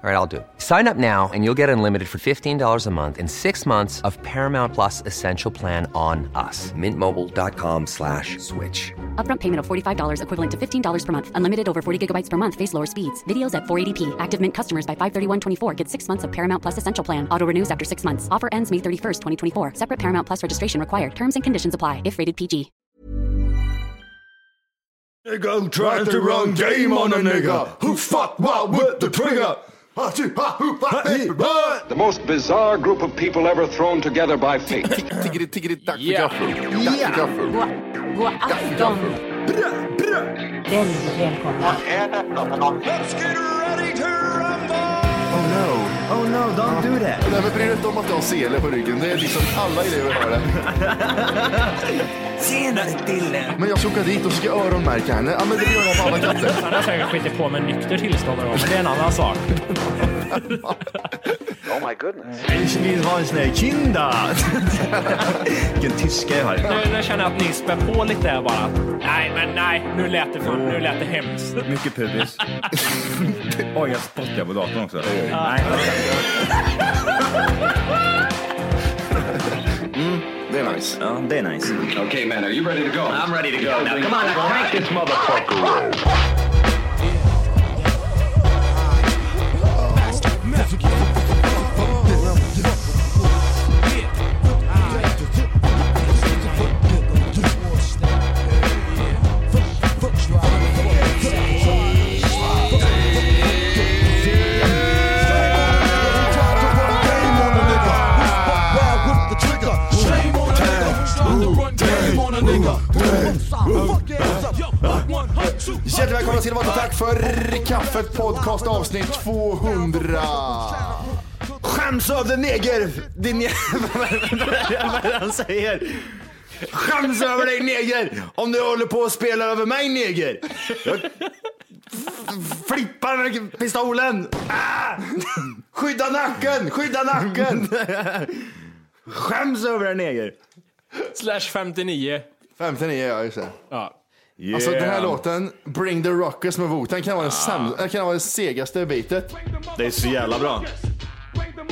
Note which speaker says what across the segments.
Speaker 1: All right, I'll do it. Sign up now and you'll get unlimited for $15 a month and six months of Paramount Plus Essential Plan on us. Mintmobile.com slash switch.
Speaker 2: Upfront payment of $45 equivalent to $15 per month. Unlimited over 40 gigabytes per month. Face lower speeds. Videos at 480p. Active Mint customers by 531.24 get six months of Paramount Plus Essential Plan. Auto renews after six months. Offer ends May 31st, 2024. Separate Paramount Plus registration required. Terms and conditions apply if rated PG.
Speaker 3: Nigga, trying the wrong game on a nigga. Who fuck wild with the trigger?
Speaker 4: The most bizarre group of people ever thrown together by fate.
Speaker 5: Tiggeri, tiggeri, dack för gaffel. Dack för gaffel.
Speaker 6: God afton! Väldigt välkomna.
Speaker 7: Oh no, oh no, don't do that.
Speaker 5: Nej, men bry dig inte om att du har sele på ryggen. Det är liksom alla elever har det.
Speaker 7: Tjenare Dille!
Speaker 5: Men jag ska åka dit och ska öronmärka henne. Ja, men det gör jag på alla katter.
Speaker 8: Han har säkert skitit på med nykter tillstånd då, men det är en annan sak.
Speaker 4: oh my goodness.
Speaker 7: Ich vill ha en sån här kinda. Vilken tyska jag har.
Speaker 8: Nu, nu känner jag att ni spär på lite här bara. Nej, men nej, nu lät det, fan, nu lät det hemskt.
Speaker 7: Mycket pubis. Oj, jag spottar på datorn också. Nej.
Speaker 5: Det är nice.
Speaker 7: Ja, det är nice.
Speaker 4: Okay, man, are you ready to go? Oh, I'm ready to go. Now, come on, now crank this motherfucker up.
Speaker 5: Hjärtligt välkomna till Vatten Tack för kaffet podcast avsnitt 200.
Speaker 7: Skäms över neger! Din jävla... Vad är det han säger? Skäms över dig neger! Om du håller på och spelar över mig neger! Jag flippar med pistolen! Ah!
Speaker 5: Skydda nacken, skydda nacken!
Speaker 7: Skäms över dig neger!
Speaker 8: Slash 59.
Speaker 5: 59, ja just det.
Speaker 8: Ja.
Speaker 5: Alltså den här låten, Bring the Rockers med Wu-Tang, kan vara Alltså, den, sämst- det kan vara det segaste bitet.
Speaker 7: Det är så jävla bra.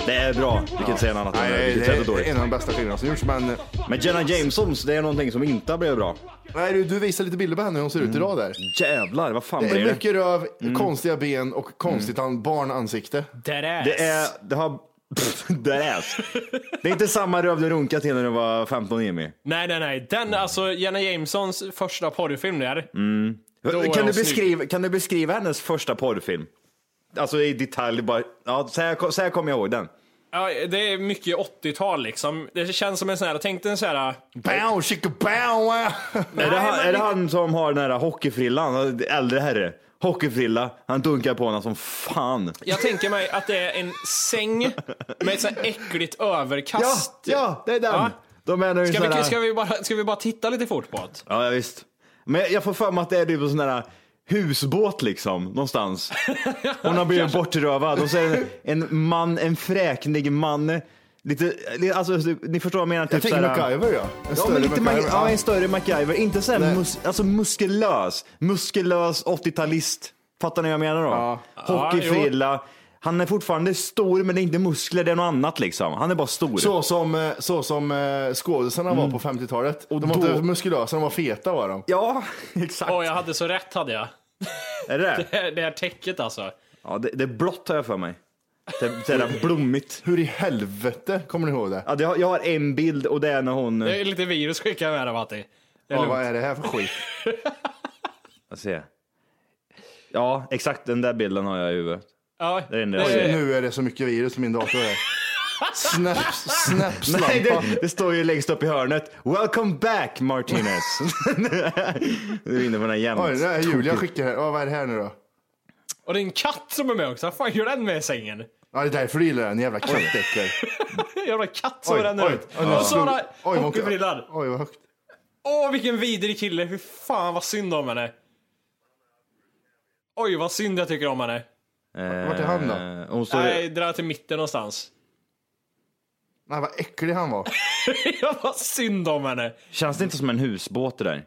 Speaker 7: Det är bra. Vi kan inte säga något annat om det.
Speaker 5: Nej,
Speaker 7: Vi kan
Speaker 5: det
Speaker 7: säga att det är
Speaker 5: är en
Speaker 7: dåligt.
Speaker 5: av de bästa skivorna som gjorts, men
Speaker 3: Men Jenna Jamesons, det är någonting som inte blev bra.
Speaker 5: nej, du, du visar lite bilder på henne hur hon ser ut idag där.
Speaker 3: Jävlar, vad fan
Speaker 5: Det
Speaker 3: blir
Speaker 5: är
Speaker 3: det?
Speaker 5: mycket röv, konstiga ben och konstigt mm. barnansikte.
Speaker 8: Där är
Speaker 3: Det är, det har, pff, det är ass. Det är inte samma röv du runkade till när du var 15 Jimmy.
Speaker 8: Nej, nej, nej. Den, alltså Jenna Jamesons första porrfilm där.
Speaker 7: Mm.
Speaker 8: är hon
Speaker 3: Kan du,
Speaker 8: snygg.
Speaker 3: beskriva, kan du beskriva hennes första porrfilm? Alltså i detalj bara, ja så här, så här kommer jag ihåg den.
Speaker 8: Ja, det är mycket 80-tal liksom. Det känns som en sån här, tänk dig en sån här...
Speaker 5: Bow, chicka bow! wow.
Speaker 3: är det, han,
Speaker 8: men
Speaker 3: är det
Speaker 8: det-
Speaker 3: han som har den där hockeyfrillan, äldre herre? Hockeyfrilla, han dunkar på honom som fan.
Speaker 8: Jag tänker mig att det är en säng med ett sånt här äckligt
Speaker 3: Ja,
Speaker 8: överkast.
Speaker 3: ja, det är den.
Speaker 8: Ja.
Speaker 3: De är nu
Speaker 8: Ska
Speaker 3: sådana-
Speaker 8: vi, ska, vi bara, ska vi bara titta lite fort på det?
Speaker 3: Ja, ja, visst. Men jag får för mig att det är typ en sån där husbåt liksom, någonstans. Hon har blivit bortrövad och så är det en man, en fräknig man. Lite, li- alltså ni förstår vad jag menar. Typ
Speaker 5: Jag tänker
Speaker 3: såhär-
Speaker 5: MacGyver ja. En
Speaker 3: Ja, men lite Mac-
Speaker 5: MacGyver,
Speaker 3: ja, en större MacGyver. Inte så här
Speaker 5: Nej.
Speaker 3: mus- alltså muskulös. Muskulös 80-talist. Fattar ni vad jag menar då? Hockeyfrilla. Han är fortfarande stor men det är inte muskler, det är något annat liksom. Han är bara stor. Mm.
Speaker 5: Så som, eh, så som eh, skådisarna var på 50-talet. De var
Speaker 3: då-
Speaker 5: inte muskulösa, de var feta var de.
Speaker 3: Ja, exakt.
Speaker 8: Åh, jag hade så rätt hade jag.
Speaker 3: Är det det?
Speaker 8: Det här- det här täcket alltså.
Speaker 3: Ja, det, det är blått har jag för mig. Det, det är där blommigt.
Speaker 5: Hur i helvete kommer ni ihåg det?
Speaker 3: Ja, det, har- jag har en bild och det är när hon...
Speaker 8: Det är lite virus skickar jag med dig Matti. Det
Speaker 5: Ja,
Speaker 8: är lugnt.
Speaker 5: vad är det här för skit?
Speaker 3: Jag ser. Ja, exakt den där bilden har jag i huvudet.
Speaker 8: Ja,
Speaker 3: är den där.
Speaker 8: det-
Speaker 3: Oj,
Speaker 5: Nu är det så mycket virus i min dator. Här. Snaps, snapslampa.
Speaker 3: Nej, det, det står ju längst upp i hörnet. Welcome back Martinez. du är inne på den här jämt.
Speaker 5: Oj, det är Julia skickar här. Ja, vad är det här nu då?
Speaker 8: Och det är en katt som är med också. Vad fan gör den med i sängen?
Speaker 5: Ja, det är därför du gillar den jävla kattäckel.
Speaker 8: Jävla katt som
Speaker 5: Oj,
Speaker 8: ränner
Speaker 5: oj,
Speaker 8: ut.
Speaker 5: oj, nu
Speaker 8: Och så har han
Speaker 5: slog- oj, vad-
Speaker 8: hockeyfrillan.
Speaker 5: Oj, vad högt.
Speaker 8: Åh, vilken vidrig kille. Fy fan vad synd om henne. Oj, vad synd jag tycker om henne.
Speaker 5: Vart är han då?
Speaker 3: Eh, Hon står
Speaker 8: Nej, dra till mitten någonstans.
Speaker 5: Nej, vad äcklig han var.
Speaker 8: jag vad synd om henne.
Speaker 3: Känns det inte som en husbåt det där?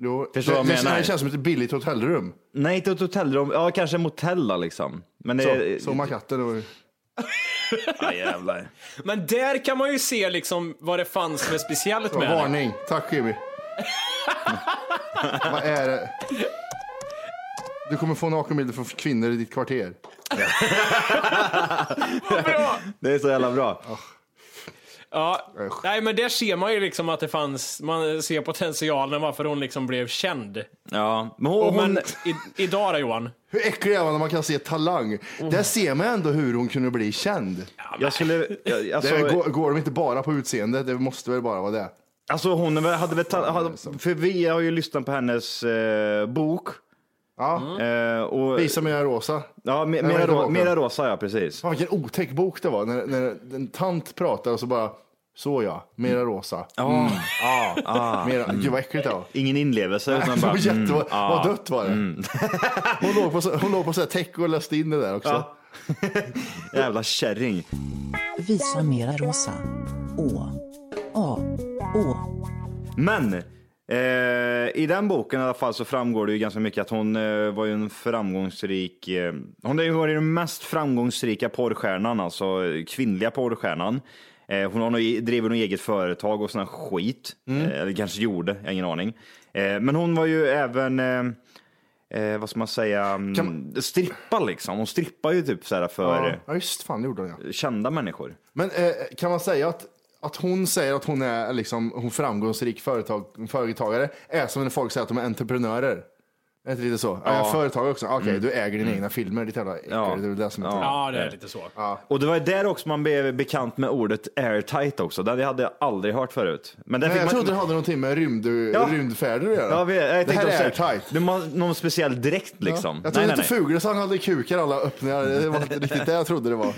Speaker 5: Jo,
Speaker 3: Förstår vad jag
Speaker 5: det, det,
Speaker 3: menar.
Speaker 5: det känns som ett billigt hotellrum.
Speaker 3: Nej, inte ett hotellrum. Ja, kanske en motell då, liksom. Men det
Speaker 5: Så, såg man katten? Det var ju...
Speaker 3: Ja, jävlar.
Speaker 8: Men där kan man ju se liksom vad det fanns som är speciellt med henne.
Speaker 5: Varning. Tack Jimmy. Vad är det? Du kommer få nakenbilder från kvinnor i ditt kvarter.
Speaker 3: Det är så jävla bra.
Speaker 8: Ja.
Speaker 5: Usch.
Speaker 8: Nej, men där ser man ju liksom att det fanns, man ser potentialen varför hon liksom blev känd.
Speaker 3: Ja, men hon...
Speaker 8: Men
Speaker 3: hon
Speaker 8: i, idag då Johan?
Speaker 5: Hur äcklig är man när man kan se talang?
Speaker 3: Mm.
Speaker 5: Där ser man ändå hur hon kunde bli känd.
Speaker 3: jag skulle... Jag, alltså,
Speaker 5: det går, går de inte bara på utseendet? Det måste väl bara vara det?
Speaker 3: alltså hon är väl- hade väl... tal- hade-
Speaker 5: liksom.
Speaker 3: För vi har ju lyssnat på hennes eh, bok.
Speaker 5: Ja,
Speaker 3: Eh, och,
Speaker 5: visa mig den här rosa.
Speaker 3: ja, me,
Speaker 5: vad
Speaker 3: mera,
Speaker 5: heter
Speaker 3: ro,
Speaker 5: boken?
Speaker 3: mera rosa, ja precis.
Speaker 5: Fan vilken otäck bok det var när, när en tant pratar och så bara så ja, mera rosa. Mm. Ja, mera, Gud vad äckligt det var.
Speaker 3: ah. Ingen inlevelse, utan
Speaker 5: Det
Speaker 3: mm. bara...
Speaker 5: var jätte,
Speaker 3: mm,
Speaker 5: vad dött var det. Hon låg på, så- hon låg på så här täck och läste in det där också.
Speaker 3: Ja. jävla kärring.
Speaker 9: Visa mera rosa. Å. A. Å.
Speaker 3: Men eh, i den boken i alla fall så framgår det ju ganska mycket att hon eh, var ju en framgångsrik, eh, hon har ju varit den mest framgångsrika porrstjärnan, alltså eh, kvinnliga porrstjärnan. Eh, hon har nog, driver nog eget företag och sån här skit, eh, eller kanske gjorde, jag har ingen aning. Eh, men hon var ju även eh, eh, vad ska man säga, mm, strippa liksom. Hon strippar ju typ så här för
Speaker 5: Ja, just fan det gjorde hon ja.
Speaker 3: eh, kända människor.
Speaker 5: Men eh, kan man säga att, att hon säger att hon är liksom, hon framgångsrik företag, företagare är som när folk säger att de är entreprenörer? Är inte lite så? Ja. Jag är företagare också. Ah, Okej, du äger dina egna filmer, ditt jävla äckel.
Speaker 3: Mm. Ja.
Speaker 5: Det är väl det som är ja.
Speaker 8: Ja, det är lite så.
Speaker 3: Och det var ju där också man blev bekant med ordet airtight också. Det hade jag aldrig hört förut. Men där
Speaker 5: Nej,
Speaker 3: fick
Speaker 5: Eh, jag
Speaker 3: man...
Speaker 5: trodde det hade någonting med rymd,
Speaker 3: Ja.
Speaker 5: rymdfärder att göra.
Speaker 3: Ja, vi, jag
Speaker 5: det
Speaker 3: tänkte
Speaker 5: här
Speaker 3: också-
Speaker 5: är tight.
Speaker 3: Det var någon speciell dräkt liksom.
Speaker 5: Jag trodde inte Fuglesang hade kukar alla öppningar. Det var inte riktigt det jag trodde det var.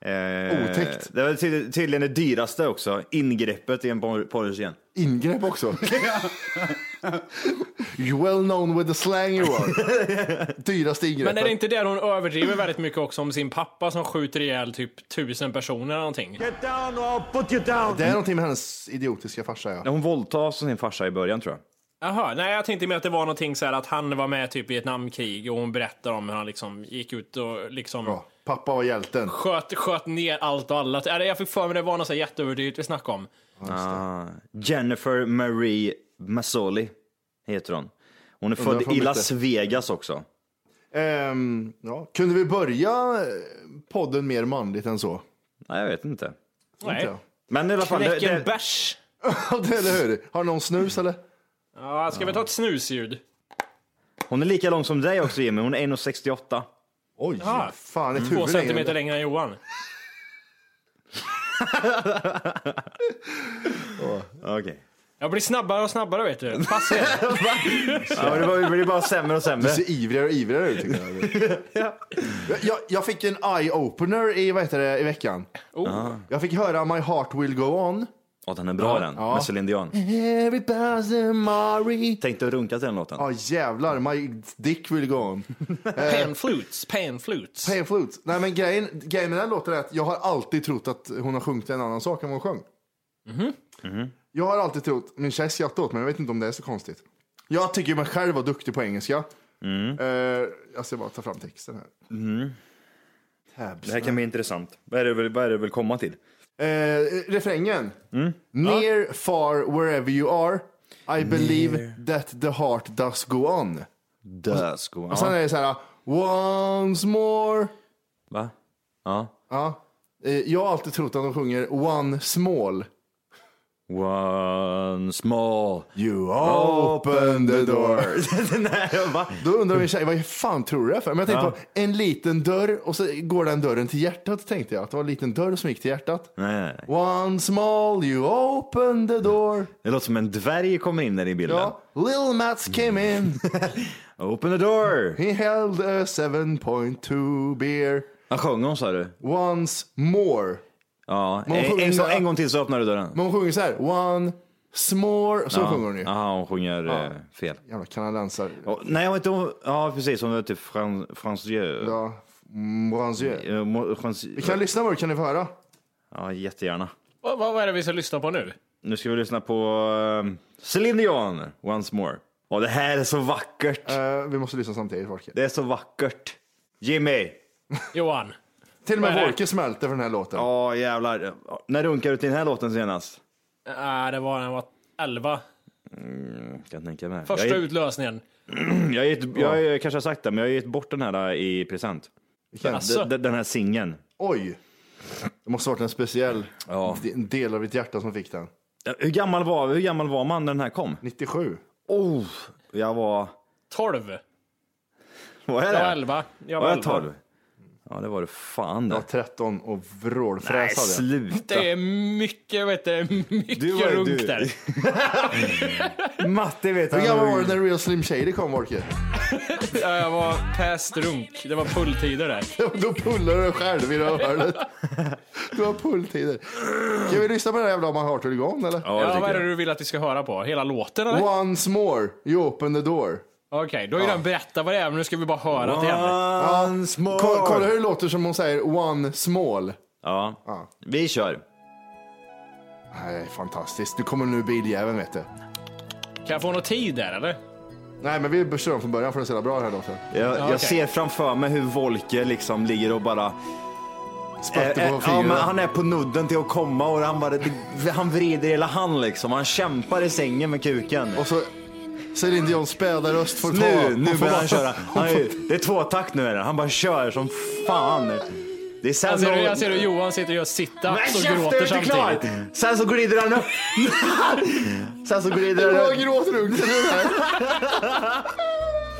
Speaker 3: Eh,
Speaker 5: Otäckt.
Speaker 3: Det var tyd- tydligen det dyraste också. Ingreppet i en porr- porrscen.
Speaker 5: Ingrepp också. you well known with the slang you are. Dyraste ingreppet.
Speaker 8: Men är det inte där hon överdriver väldigt mycket också om sin pappa som skjuter ihjäl typ tusen personer eller någonting?
Speaker 7: Get down or I'll put you down.
Speaker 5: Det är någonting med hennes idiotiska farsa ja.
Speaker 3: Hon våldtas av sin farsa i början tror jag.
Speaker 8: Jaha, nej jag tänkte mer att det var någonting så här att han var med typ i Vietnamkrig och hon berättar om hur han liksom gick ut och liksom
Speaker 5: Ja, Pappa var hjälten.
Speaker 8: sköt, sköt ner allt och alla. Eller jag fick för mig det var något så här jätteöverdrivet vi snackade om.
Speaker 3: Ah, Jennifer Marie Masoli heter hon. Hon är
Speaker 5: Undrar
Speaker 3: född
Speaker 5: om
Speaker 3: i
Speaker 5: inte-
Speaker 3: Las Vegas också.
Speaker 5: Ehm, ja. Kunde vi börja eh, podden mer manligt än så?
Speaker 3: Nej, jag vet inte.
Speaker 8: Nej,
Speaker 3: Men i alla fall.
Speaker 8: knäck
Speaker 3: Det,
Speaker 8: en
Speaker 3: det,
Speaker 8: bärs.
Speaker 5: eller hur? Har någon snus eller?
Speaker 8: Ja, ska vi ta ett snusljud?
Speaker 3: hon är lika lång som dig också Jimmy. Hon är 1,68.
Speaker 5: Oj,
Speaker 8: Ja.
Speaker 5: fan ett
Speaker 8: Två
Speaker 5: huvud längre.
Speaker 8: centimeter längre än Johan.
Speaker 3: Okej.
Speaker 8: Jag blir snabbare och snabbare vet du. Pass er.
Speaker 3: Ja, men det var- det blir bara sämre och sämre.
Speaker 5: Du ser ivrigare och ivrigare ut tycker jag. Jag- jag. Jag fick en eye-opener i, vad heter det, i veckan.
Speaker 8: Oh.
Speaker 5: Jag fick höra My heart will go on.
Speaker 3: Ja, den är bra den.
Speaker 5: Ja.
Speaker 3: Med Celine Dion.
Speaker 5: Everybody's in Mari.
Speaker 3: Tänkte att runka till den låten.
Speaker 5: Ja jävlar, my dick will go on.
Speaker 3: Eh.
Speaker 8: Pan flutes, pan flutes.
Speaker 5: Pay flute. Nej men grejen, grejen med den låten är att jag har alltid trott att hon har sjungit en annan sak än vad hon sjöng.
Speaker 3: Mhm.
Speaker 5: Jag har alltid trott, min tjej skrattar åt mig, jag vet inte om det är så konstigt. Jag tycker mig själv vara duktig på engelska. Mm. jag ska bara ta fram texten här.
Speaker 3: Mhm. Det här kan bli intressant. Vad är det väl, vad är det väl komma till?
Speaker 5: Eh, refrängen.
Speaker 3: Mm.
Speaker 5: Near, far, wherever you are. I believe that the heart does go on.
Speaker 3: Dödsko.
Speaker 5: Sen är
Speaker 3: Ja.
Speaker 5: det så här, once more.
Speaker 3: Va? Ja.
Speaker 5: Ja. Eh, jag har alltid trott att de sjunger one small.
Speaker 3: One and small.
Speaker 5: You
Speaker 3: open the door.
Speaker 5: Då undrar min tjej, vad fan tror du det är för? Men jag tänkte
Speaker 3: Ja.
Speaker 5: på en liten dörr och så går den dörren till hjärtat tänkte jag. Att det var en liten dörr som gick till hjärtat.
Speaker 3: Nej, nej, nej.
Speaker 5: One small you open the door.
Speaker 3: Det låter som en dvärg kommer in där i bilden.
Speaker 5: Ja, Lil Mats came in.
Speaker 3: Open the door.
Speaker 5: He held a 7.2 beer.
Speaker 3: Han sjöng hon sa du?
Speaker 5: Once more.
Speaker 3: Ja,
Speaker 5: Men hon
Speaker 3: en,
Speaker 5: sjunger-
Speaker 3: en, så, en gång till så öppnar du dörren.
Speaker 5: Men hon sjunger så här. One smore. Så
Speaker 3: ja.
Speaker 5: sjunger hon ju.
Speaker 3: Ja, hon sjunger
Speaker 5: Ja.
Speaker 3: eh, fel.
Speaker 5: Jävla kanadensare.
Speaker 3: Ja, nej, jag vet inte om- Ja, precis. Hon heter Fran, Francieux.
Speaker 5: Ja, Francieux.
Speaker 3: Eh, Mo- Franci-
Speaker 5: Vi kan lyssna på det, kan ni få höra?
Speaker 3: Ja, jättegärna.
Speaker 8: Vad, vad vad är det vi ska lyssna på nu?
Speaker 3: Nu ska vi lyssna på uh, Céline Dion, Once More. Ja, det här är så vackert.
Speaker 5: Eh, vi måste lyssna samtidigt, Folke.
Speaker 3: Det är så vackert. Jimmy.
Speaker 8: Johan.
Speaker 5: Till och
Speaker 8: Vad är
Speaker 5: med
Speaker 8: det?
Speaker 5: Folke smälter för den här låten.
Speaker 3: Ja, jävlar. När runkade du till den här låten senast?
Speaker 8: Nej, det var när jag var 11.
Speaker 3: Mm, kan tänka mig.
Speaker 8: Första
Speaker 3: jag, är-
Speaker 8: utlösningen.
Speaker 3: jag, är ett- jag, är- kanske har sagt det, men jag har gett bort den här eh, i present.
Speaker 8: Asså.
Speaker 3: Den, den här singeln.
Speaker 5: Oj! Det måste ha varit en speciell
Speaker 3: Ja.
Speaker 5: de- del av ditt hjärta som fick den.
Speaker 3: Hur gammal, var, hur gammal var man när den här kom?
Speaker 5: 97.
Speaker 3: Oh, jag var...
Speaker 8: 12.
Speaker 3: Vad är
Speaker 8: Jag
Speaker 3: det?
Speaker 8: var 11. Jag
Speaker 3: var
Speaker 8: var
Speaker 3: jag
Speaker 8: 11.
Speaker 3: 12? Ja, det var det fan
Speaker 5: Jag
Speaker 3: det.
Speaker 5: var 13 och
Speaker 3: Nej,
Speaker 5: vrålfräsade.
Speaker 3: sluta.
Speaker 8: Det är mycket, vet du, mycket
Speaker 3: Du var-
Speaker 8: runk
Speaker 3: du-
Speaker 8: där.
Speaker 3: Matte vet
Speaker 5: Hur
Speaker 3: han
Speaker 5: gammal
Speaker 3: var
Speaker 5: var
Speaker 3: ju-
Speaker 5: du när Real Slim Shady kom, Folke?
Speaker 8: Ja, jag var past runk. Det var pulltider där.
Speaker 5: Då pullade du själv i rövhålet. Du har pulltider. Kan vi lyssna på den här jävla man har till igång, eller?
Speaker 3: Ja, det
Speaker 8: Ja, vad
Speaker 3: tycker
Speaker 8: är det
Speaker 3: jag.
Speaker 8: du vill att vi ska höra på? Hela låten eller?
Speaker 5: Once more, you open the door.
Speaker 8: Okej, då har ju den berättat vad det är, men nu ska vi bara höra det igen.
Speaker 3: Once more.
Speaker 5: Ko- Kolla hur det låter som hon säger one small.
Speaker 3: Ja. vi kör.
Speaker 5: Nej, fantastiskt. Nu kommer nu biljäveln, vet du.
Speaker 8: Kan jag få någon tid där eller?
Speaker 3: Alltså,
Speaker 5: Nej, men vi kör om från början för den är så jävla bra den här låten.
Speaker 3: Jag,
Speaker 8: Ja,
Speaker 3: jag
Speaker 8: okej.
Speaker 3: ser framför mig hur Volker liksom ligger och bara...
Speaker 5: Spötte
Speaker 3: Eh,
Speaker 5: på
Speaker 3: eh, ja, men
Speaker 5: fingrarna.
Speaker 3: han är på nudden till att komma och han bara... Han vrider hela hand liksom. Han kämpar i sängen med kuken.
Speaker 5: Och så Céline Dions späda röst får ta.
Speaker 3: Nu,
Speaker 5: Hon
Speaker 3: nu
Speaker 5: får
Speaker 3: börjar
Speaker 5: bara-
Speaker 3: han köra. Han är, det är tvåtakt nu är det. Han bara kör som fan. Det är sen
Speaker 8: Jag ser, hur-
Speaker 3: då-
Speaker 8: jag ser hur Johan sitter och gör
Speaker 3: Nej,
Speaker 8: sit-ups och
Speaker 3: käften, det
Speaker 8: gråter
Speaker 3: är inte klart!
Speaker 8: samtidigt.
Speaker 3: Sen så glider han upp. sen så glider han
Speaker 5: Vad
Speaker 3: upp.
Speaker 5: gråter du? Det är det här.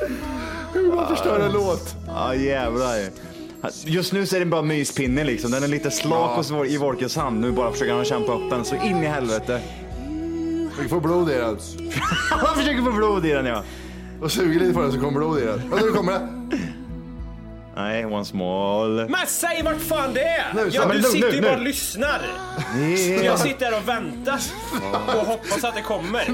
Speaker 5: Hur man förstör en låt.
Speaker 3: Ja jävlar. Just nu så är det bara myspinne liksom. Den är lite slak och svår i Volkers hand. Nu bara försöker han kämpa upp den så in i helvete.
Speaker 5: Vi får blod i den.
Speaker 3: Han försöker få blod i den ja.
Speaker 5: Och suger lite på den så kommer blod i den. Och nu kommer det.
Speaker 3: Nej, one small.
Speaker 10: Men säg vart fan det är!
Speaker 5: Nu,
Speaker 10: ja,
Speaker 5: men
Speaker 10: du
Speaker 3: lugn,
Speaker 10: sitter
Speaker 3: nu,
Speaker 10: ju bara
Speaker 3: nu.
Speaker 10: och lyssnar. Jag sitter här och väntar och hoppas att det kommer.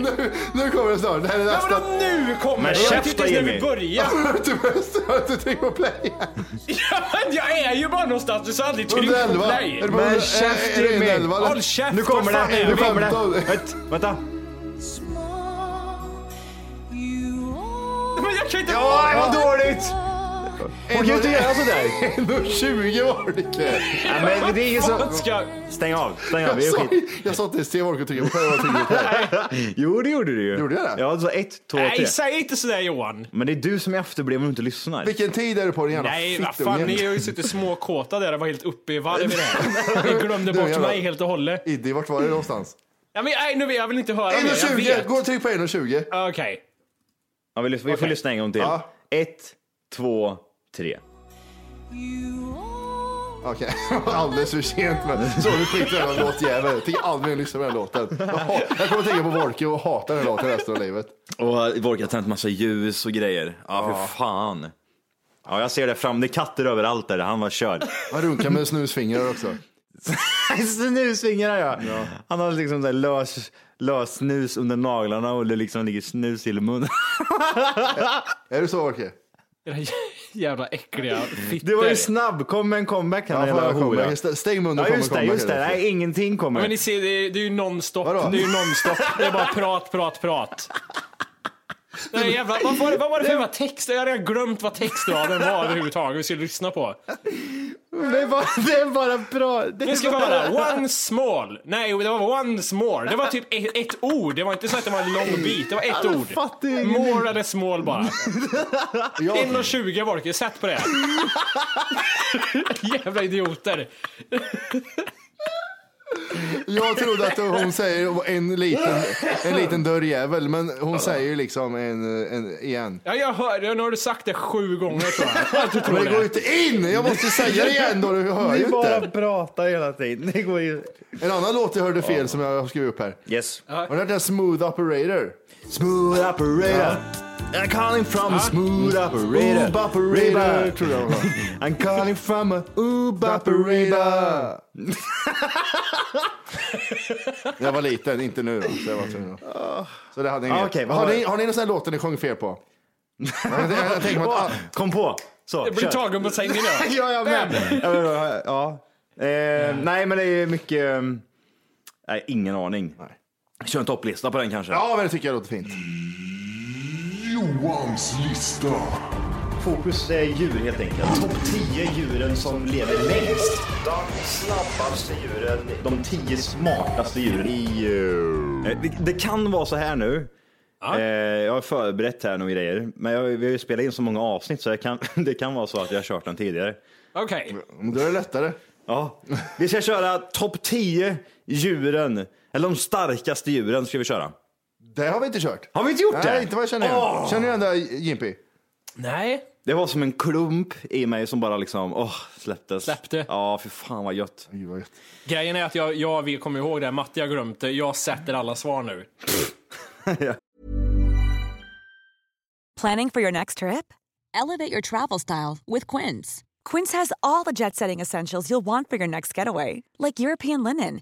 Speaker 5: Nu kommer det snart. Det här är
Speaker 10: Ja,
Speaker 5: nästa.
Speaker 10: men om nu kommer
Speaker 3: Men
Speaker 10: det! Jag
Speaker 3: käfta,
Speaker 10: tyckte inte när
Speaker 3: Jimmy.
Speaker 10: vi började.
Speaker 5: Du behöver inte trycka på play.
Speaker 10: Ja, men jag är ju bara någonstans. Du sa aldrig tryck på
Speaker 5: 111.
Speaker 10: play.
Speaker 5: Är det bara-
Speaker 3: Men
Speaker 5: är-
Speaker 3: käft
Speaker 5: är det
Speaker 3: Jimmy.
Speaker 5: 111, eller?
Speaker 10: Håll käft,
Speaker 3: Nu kommer
Speaker 10: vad fan
Speaker 3: det,
Speaker 10: är
Speaker 3: nu
Speaker 10: det?
Speaker 3: kommer
Speaker 5: femton?
Speaker 3: det. Vänta, Vänta.
Speaker 10: Men jag kan inte...
Speaker 3: Ja, det var dåligt. Hon kan ju inte göra sådär.
Speaker 5: 120 var det inte.
Speaker 3: Nej, men det är ju så...
Speaker 10: Ska...
Speaker 3: Stäng av, stäng
Speaker 5: Jag
Speaker 3: av. Det är
Speaker 5: sa-
Speaker 3: skit.
Speaker 5: Jag sa till Steve Ork att trycka på play. Jag tryckte på play.
Speaker 3: Jo, det gjorde du ju.
Speaker 5: Gjorde jag det?
Speaker 3: Ja, du sa ett, två, tre.
Speaker 10: Nej, säg inte sådär Johan.
Speaker 3: Men det är du som är efterbliven och inte lyssnar.
Speaker 5: Vilken tid är det på din jävla
Speaker 10: Nej, vad fan.
Speaker 5: fittungen?
Speaker 10: Ni har ju suttit småkåta där och var helt uppe i varv i det här. Ni glömde
Speaker 5: Du,
Speaker 10: bort
Speaker 5: jävlar.
Speaker 10: mig helt och hållet.
Speaker 5: Iddi, vart var det någonstans?
Speaker 10: Ja, men, nej, nu, jag vill inte höra mer. Jag
Speaker 5: 120!
Speaker 10: vet.
Speaker 5: Gå och tryck på 120.
Speaker 10: Okej.
Speaker 3: Ja, vi, lys- vi får
Speaker 10: Okej.
Speaker 3: lyssna en gång till.
Speaker 5: Ja.
Speaker 3: Ett, två, tre.
Speaker 5: Okej, alldeles för sent men så vi skiter i den här låtjäveln. Tänker aldrig mer lyssna på den här låten. Jag ha- Jag kommer att tänka på Wolke och hata den här låten resten av livet.
Speaker 3: Och Volker har tänt massa ljus och grejer. Ja, ah, för fan. Ja, jag ser det fram. Det är katter överallt där. Han var körd.
Speaker 5: Han runkar med snusfingrar också.
Speaker 3: Snusfingrar ja. ja. Han har liksom så här lös, lös snus under naglarna och det liksom ligger snus i munnen.
Speaker 5: Är det så Wolke?
Speaker 8: Det där jävla äckliga fitter.
Speaker 3: Det var ju snabb. Kom med en comeback här.
Speaker 5: Ja,
Speaker 3: jävla
Speaker 5: får jag
Speaker 3: hora.
Speaker 5: comeback? St- stäng munnen och
Speaker 3: Ja,
Speaker 5: kom
Speaker 3: just
Speaker 5: med
Speaker 3: det. Just det.
Speaker 5: comeback.
Speaker 3: Nej, ingenting kommer.
Speaker 8: Men ni ser, det är, det är ju nonstop.
Speaker 5: Vadå?
Speaker 8: Det är ju nonstop. Det är bara prat, prat, prat. Det där jävla, vad, var det, vad var det för jävla text? Jag har redan glömt vad textraden var överhuvudtaget. Vi ska lyssna på.
Speaker 3: Det är bara, det är bara bra. Det
Speaker 8: Nu ska
Speaker 3: är
Speaker 8: vi
Speaker 3: bara...
Speaker 8: höra. One small. Nej, det var one small. Det var typ ett, ett ord. Det var inte så att det var en lång bit. Det var ett
Speaker 3: men
Speaker 8: ord.
Speaker 3: fattar ju ingenting.
Speaker 8: More eller small bara. 1,20 Volker. Sätt på det. Jävla idioter.
Speaker 5: Jag trodde att hon säger en liten, en liten dörrjävel, men hon säger liksom en, en igen.
Speaker 8: Ja, jag hör det. Nu har du sagt det sju gånger tror jag. Att du tror
Speaker 5: Men det
Speaker 8: det.
Speaker 5: går ju inte in! Jag måste säga det igen då, du hör ju
Speaker 3: Ni
Speaker 5: inte.
Speaker 3: bara pratar hela tiden. Det går ju...
Speaker 5: En annan låt jag hörde fel som jag har skrivit upp här.
Speaker 3: Yes.
Speaker 5: Har du hört den Smooth Operator?
Speaker 3: Smooth operator. I'm calling from a smooth operator.
Speaker 5: Oob operator,
Speaker 3: Oob-
Speaker 5: tror jag hon har.
Speaker 3: I'm calling from a oob operator.
Speaker 5: När jag var liten, inte nu. då, Så, jag var tvungen att- så det hade jag inget.
Speaker 3: Ah. Okej, vad
Speaker 5: har,
Speaker 3: var
Speaker 5: ni,
Speaker 3: det?
Speaker 5: har ni någon sån här låt ni sjöng fel på? jag, jag, jag tänker mig att,
Speaker 3: Kom på. Så,
Speaker 8: Jag blir
Speaker 3: kör.
Speaker 8: tagen på sängen nu.
Speaker 3: ja, jag med. Ja, men, ja, ja. Eh, nej, men det är mycket... ehm, Nej, ingen aning. Kör en topplista på den kanske.
Speaker 5: ja, men det tycker jag låter fint.
Speaker 3: Johans lista. Fokus är djur helt enkelt. Topp 10 djuren som lever längst. De snabbaste djuren. De 10 smartaste djuren. Eh, Det, det kan vara så här nu. Eh, jag har förberett här några grejer. Men jag, vi har ju spelat in så många avsnitt så jag kan, det kan vara så att jag har kört den tidigare.
Speaker 8: Okej.
Speaker 5: Då är det lättare.
Speaker 3: Ja, vi ska köra topp 10 djuren, eller de starkaste djuren ska vi köra.
Speaker 5: Det har vi inte kört.
Speaker 3: Har vi inte gjort det?
Speaker 5: Nej, inte vad jag känner igen.
Speaker 3: Åh!
Speaker 5: Känner du igen det här, Jimpy?
Speaker 8: Nej.
Speaker 3: Det var som en klump i mig som bara liksom, åh, släpptes.
Speaker 8: Släppte.
Speaker 3: Ja, för fan vad gött.
Speaker 8: Grejen är att jag, jag vill komma ihåg det här. Matti har glömt det. Jag sätter alla svar nu.
Speaker 2: Planning for your next trip?
Speaker 11: Elevate your travel style with Quince.
Speaker 2: Quince has all the jet setting essentials you'll want for your next getaway, like European linen,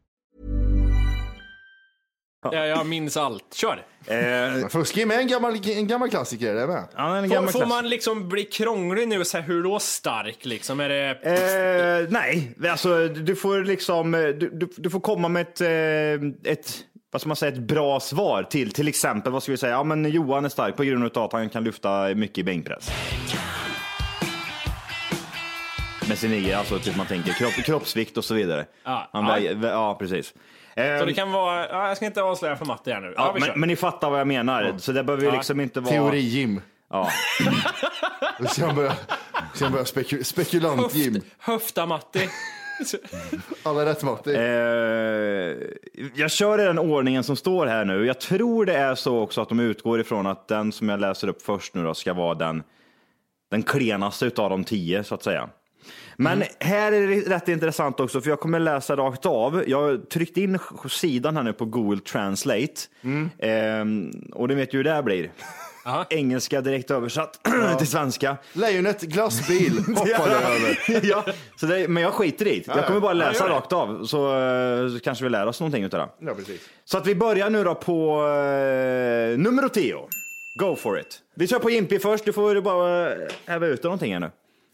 Speaker 8: Ja, jag minns allt. Kör!
Speaker 3: Eh,
Speaker 5: Fuskig med en gammal, en gammal klassiker, det är med.
Speaker 3: Ja, en
Speaker 8: Får, får man liksom bli krånglig nu och säga hur då stark liksom? Är det...
Speaker 3: Eh, nej, alltså du får liksom, eh, du, du, du får komma med ett, eh, ett, vad ska man säga, ett bra svar till, till exempel, vad ska vi säga, ja men Johan är stark på grund av att han kan lyfta mycket i bänkpress. Med sin egen, alltså typ man tänker kropp, kroppsvikt och så vidare.
Speaker 8: Ja,
Speaker 3: han
Speaker 8: ja.
Speaker 3: väger- vä- ja precis. Eh,
Speaker 8: Så det kan vara... Ja, jag ska inte avslöja för Matti här nu. Ja,
Speaker 3: ja,
Speaker 8: vi kör.
Speaker 3: men, men ni fattar vad jag menar, så det behöver ju
Speaker 8: Ja.
Speaker 3: liksom inte vara...
Speaker 5: Teori-Jim.
Speaker 3: Ja.
Speaker 5: Sen börjar, sen börjar spekul spekulant-Jim.
Speaker 8: Höfta-Matti.
Speaker 5: Alla rätt mat. Det är-
Speaker 3: Eh, jag kör i den ordningen som står här nu. Jag tror det är så också att de utgår ifrån att den som jag läser upp först nu då ska vara den, den klenaste utav de tio så att säga. Men här är det rätt intressant också, för jag kommer läsa rakt av. Jag tryckte in sidan här nu på Google Translate Ehm, och du vet ju hur det här blir. Engelska direkt översatt till svenska.
Speaker 5: Lejonet glassbil hoppade jag över.
Speaker 3: ja, så det, men jag skiter i det. Jag kommer bara
Speaker 5: Ja,
Speaker 3: läsa
Speaker 5: gör det.
Speaker 3: rakt av så, eh, så kanske vi lär oss någonting utav det.
Speaker 5: Ja, precis.
Speaker 3: Så att vi börjar nu då på eh, nummer 10. Go for it. Vi kör på Jimpi först. Du får bara eh, häva ut någonting här nu.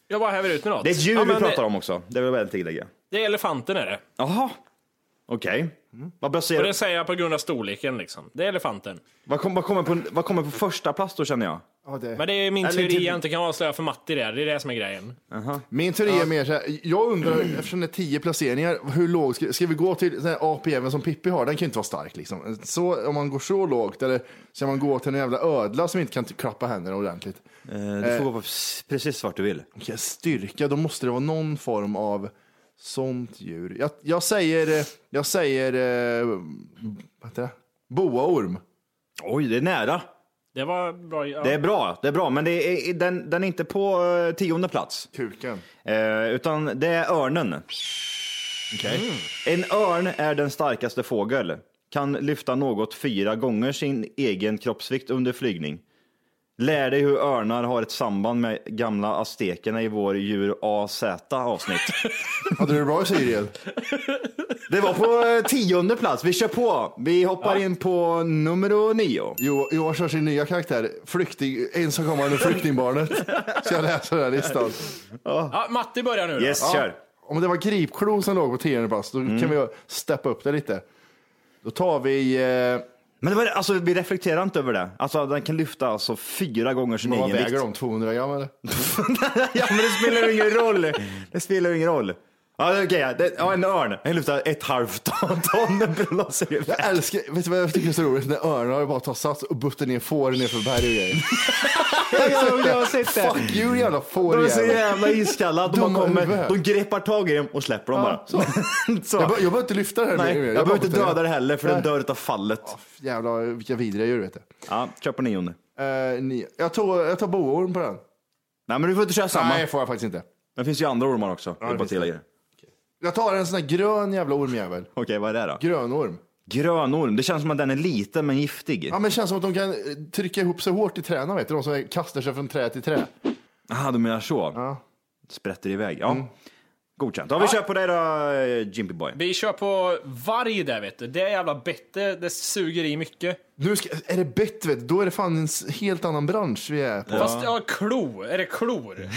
Speaker 8: Jag bara häver ut med något.
Speaker 3: Det är ett djur
Speaker 8: Ja,
Speaker 3: vi
Speaker 8: men
Speaker 3: pratar
Speaker 8: det,
Speaker 3: om också. Det vill jag väl tillägga.
Speaker 8: Det är elefanten är det.
Speaker 3: Jaha. Okej. Vad
Speaker 8: Och
Speaker 3: baserar
Speaker 8: det säger jag på grund av storleken liksom. Det är elefanten.
Speaker 3: Vad kom- vad kommer på, vad kommer på första plats då känner jag?
Speaker 8: Men det är min
Speaker 3: Eller
Speaker 8: teori
Speaker 3: typ-
Speaker 8: jag inte kan avslöja för Matti där. Det är det som är grejen.
Speaker 5: Min teori är mer så här, jag undrar, eftersom det är tio placeringar, hur låg, ska, ska vi gå till den här APM som Pippi har, den kan ju inte vara stark liksom. Så, om man går så lågt, eller ska man gå till en jävla ödla som inte kan t- klappa händerna ordentligt?
Speaker 3: Eh, du får gå på precis vart du vill.
Speaker 5: Okej, styrka, då måste det vara någon form av sånt djur. Jag, jag säger, eh, jag säger, eh, vad heter det? Boaorm.
Speaker 3: Oj, det är nära.
Speaker 8: Det var bra. Ja.
Speaker 3: Det är bra, det är bra, men det är, den, den är inte på eh, tionde plats.
Speaker 5: Kuken.
Speaker 3: Eh, utan det är örnen. En örn är den starkaste fågel. Kan lyfta något fyra gånger sin egen kroppsvikt under flygning. Lär dig hur örnar har ett samband med gamla aztekerna i vår djur AZ avsnitt.
Speaker 5: Hade du det bra Cyril?
Speaker 3: Det var på eh, tionde plats. Vi kör på. Vi hoppar in på nummer nio.
Speaker 5: Jo, Johan kör sin nya karaktär, flykting, ensamkommande flyktingbarnet. Så jag läser den här listan.
Speaker 8: Ja, Matti börjar nu då.
Speaker 5: Ja, Om det var Gripklo som låg på tionde plats, då
Speaker 3: Mm.
Speaker 5: kan vi steppa upp det lite. Då tar vi... Eh,
Speaker 3: Men det var, alltså, vi reflekterar inte över det. Alltså, den kan lyfta alltså, fyra gånger sin
Speaker 5: vad
Speaker 3: egen
Speaker 5: väger
Speaker 3: vikt.
Speaker 5: de? 200 gram eller?
Speaker 3: ja, men det spelar ju ingen roll. Det spelar ju ingen roll. Ja, det är okej. Det- Ja, en örn. Den lyfter ett halvt ton. ton blåser iväg.
Speaker 5: Jag älskar, vet du vad jag tycker är så roligt? När örnar bara tar sats och buttar ner får ner för berg och grejer.
Speaker 3: Jag såg det, jag har sett det.
Speaker 5: Fuck you jävla får
Speaker 3: De är så jävla iskalla. De,
Speaker 5: Dumma
Speaker 3: bara kommer,
Speaker 5: huvud.
Speaker 3: de greppar tag i dem och släpper dem bara.
Speaker 5: Så.
Speaker 3: Så.
Speaker 5: Jag, be- jag behöver inte lyfta det här
Speaker 3: Nej,
Speaker 5: mer.
Speaker 3: jag behöver inte
Speaker 5: buttar
Speaker 3: döda
Speaker 5: ner.
Speaker 3: det heller för
Speaker 5: Nej.
Speaker 3: den dör av fallet.
Speaker 5: Jävlar vilka vidriga djur vet du.
Speaker 3: Ja, kör på nionde.
Speaker 5: Eh, ni, jag, tog, jag tar boorm på den.
Speaker 3: Nej, men du får inte köra samma.
Speaker 5: Nej, får jag faktiskt inte.
Speaker 3: Det finns ju andra ormar också.
Speaker 5: det
Speaker 3: det
Speaker 5: finns
Speaker 3: är
Speaker 5: det.
Speaker 3: bara det.
Speaker 5: Jag tar en sån här grön jävla ormjävel.
Speaker 3: Okej, vad är det då?
Speaker 5: Grönorm.
Speaker 3: Grönorm. Det känns som att den är liten men giftig.
Speaker 5: Ja men det känns som att de kan eh, trycka ihop sig hårt i träna vet du. De som kastar sig från trä till trä.
Speaker 3: Jaha, du menar så? Sprätter iväg. Ja. Godkänt. Mm. Ja, vi
Speaker 8: Ja.
Speaker 3: kör på dig då, eh, Jimpy Boy.
Speaker 8: Vi kör på varg där vet du. Det är jävla bättre. Det suger i mycket.
Speaker 5: Nu ska, är det bett vet du, då är det fan en s- helt annan bransch vi är på.
Speaker 8: Fast ja, klo. Är det klor?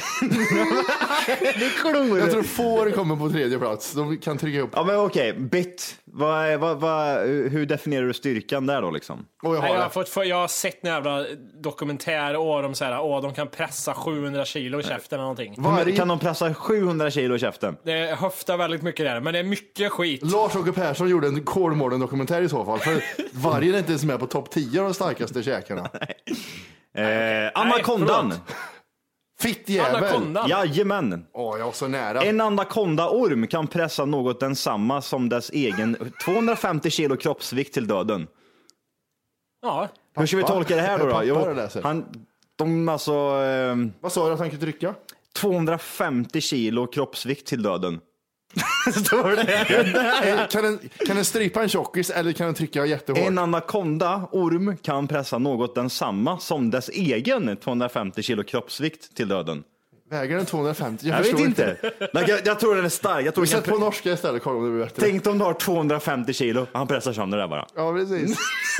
Speaker 5: Jag tror får kommer på tredje plats. De kan trycka ihop.
Speaker 3: Ja, men okej. Bit. Vad, är- vad, vad, hur definierar du styrkan där då liksom?
Speaker 5: Och jag
Speaker 8: Nej,
Speaker 5: har
Speaker 8: jag, har
Speaker 5: det.
Speaker 8: fått, för jag har sett några jävla dokumentärer och de så här, åh, de kan pressa 700 kilo i käften eller någonting.
Speaker 3: Varje... Kan de pressa 700 kilo i käften?
Speaker 8: Det höftar väldigt mycket där, men det är mycket skit.
Speaker 5: Lars-Åke Persson gjorde en Kolmården-dokumentär i så fall. För vargen är inte ens med på topp 10 av de starkaste käkarna.
Speaker 3: Eh, anakondan.
Speaker 5: Fittjävel!
Speaker 3: Jajamän.
Speaker 5: Åh, jag var så nära.
Speaker 3: En anakondaorm kan pressa något densamma som dess egen 250 kilo kroppsvikt till döden.
Speaker 8: Ja.
Speaker 3: Hur ska vi
Speaker 5: Pappa.
Speaker 3: tolka det här då? då?
Speaker 5: Pappa det läser.
Speaker 3: han, de alltså... Eh,
Speaker 5: Vad sa du att han kunde trycka?
Speaker 3: 250 kilo kroppsvikt till döden. Står det?
Speaker 5: Eh, kan, den, kan den strypa en tjockis eller kan den trycka jättehårt?
Speaker 3: En anakonda, orm, kan pressa något densamma som dess egen 250 kilo kroppsvikt till döden.
Speaker 5: Väger den 250? Jag,
Speaker 3: Jag, vet
Speaker 5: förstår
Speaker 3: inte. Nej, jag, jag tror den är stark. Jag tror den
Speaker 5: Sätt
Speaker 3: kan
Speaker 5: på
Speaker 3: pre-
Speaker 5: norska istället kolla om det blir bättre.
Speaker 3: Tänk om du har 250 kilo. Han pressar sönder det där bara.
Speaker 5: Ja, precis.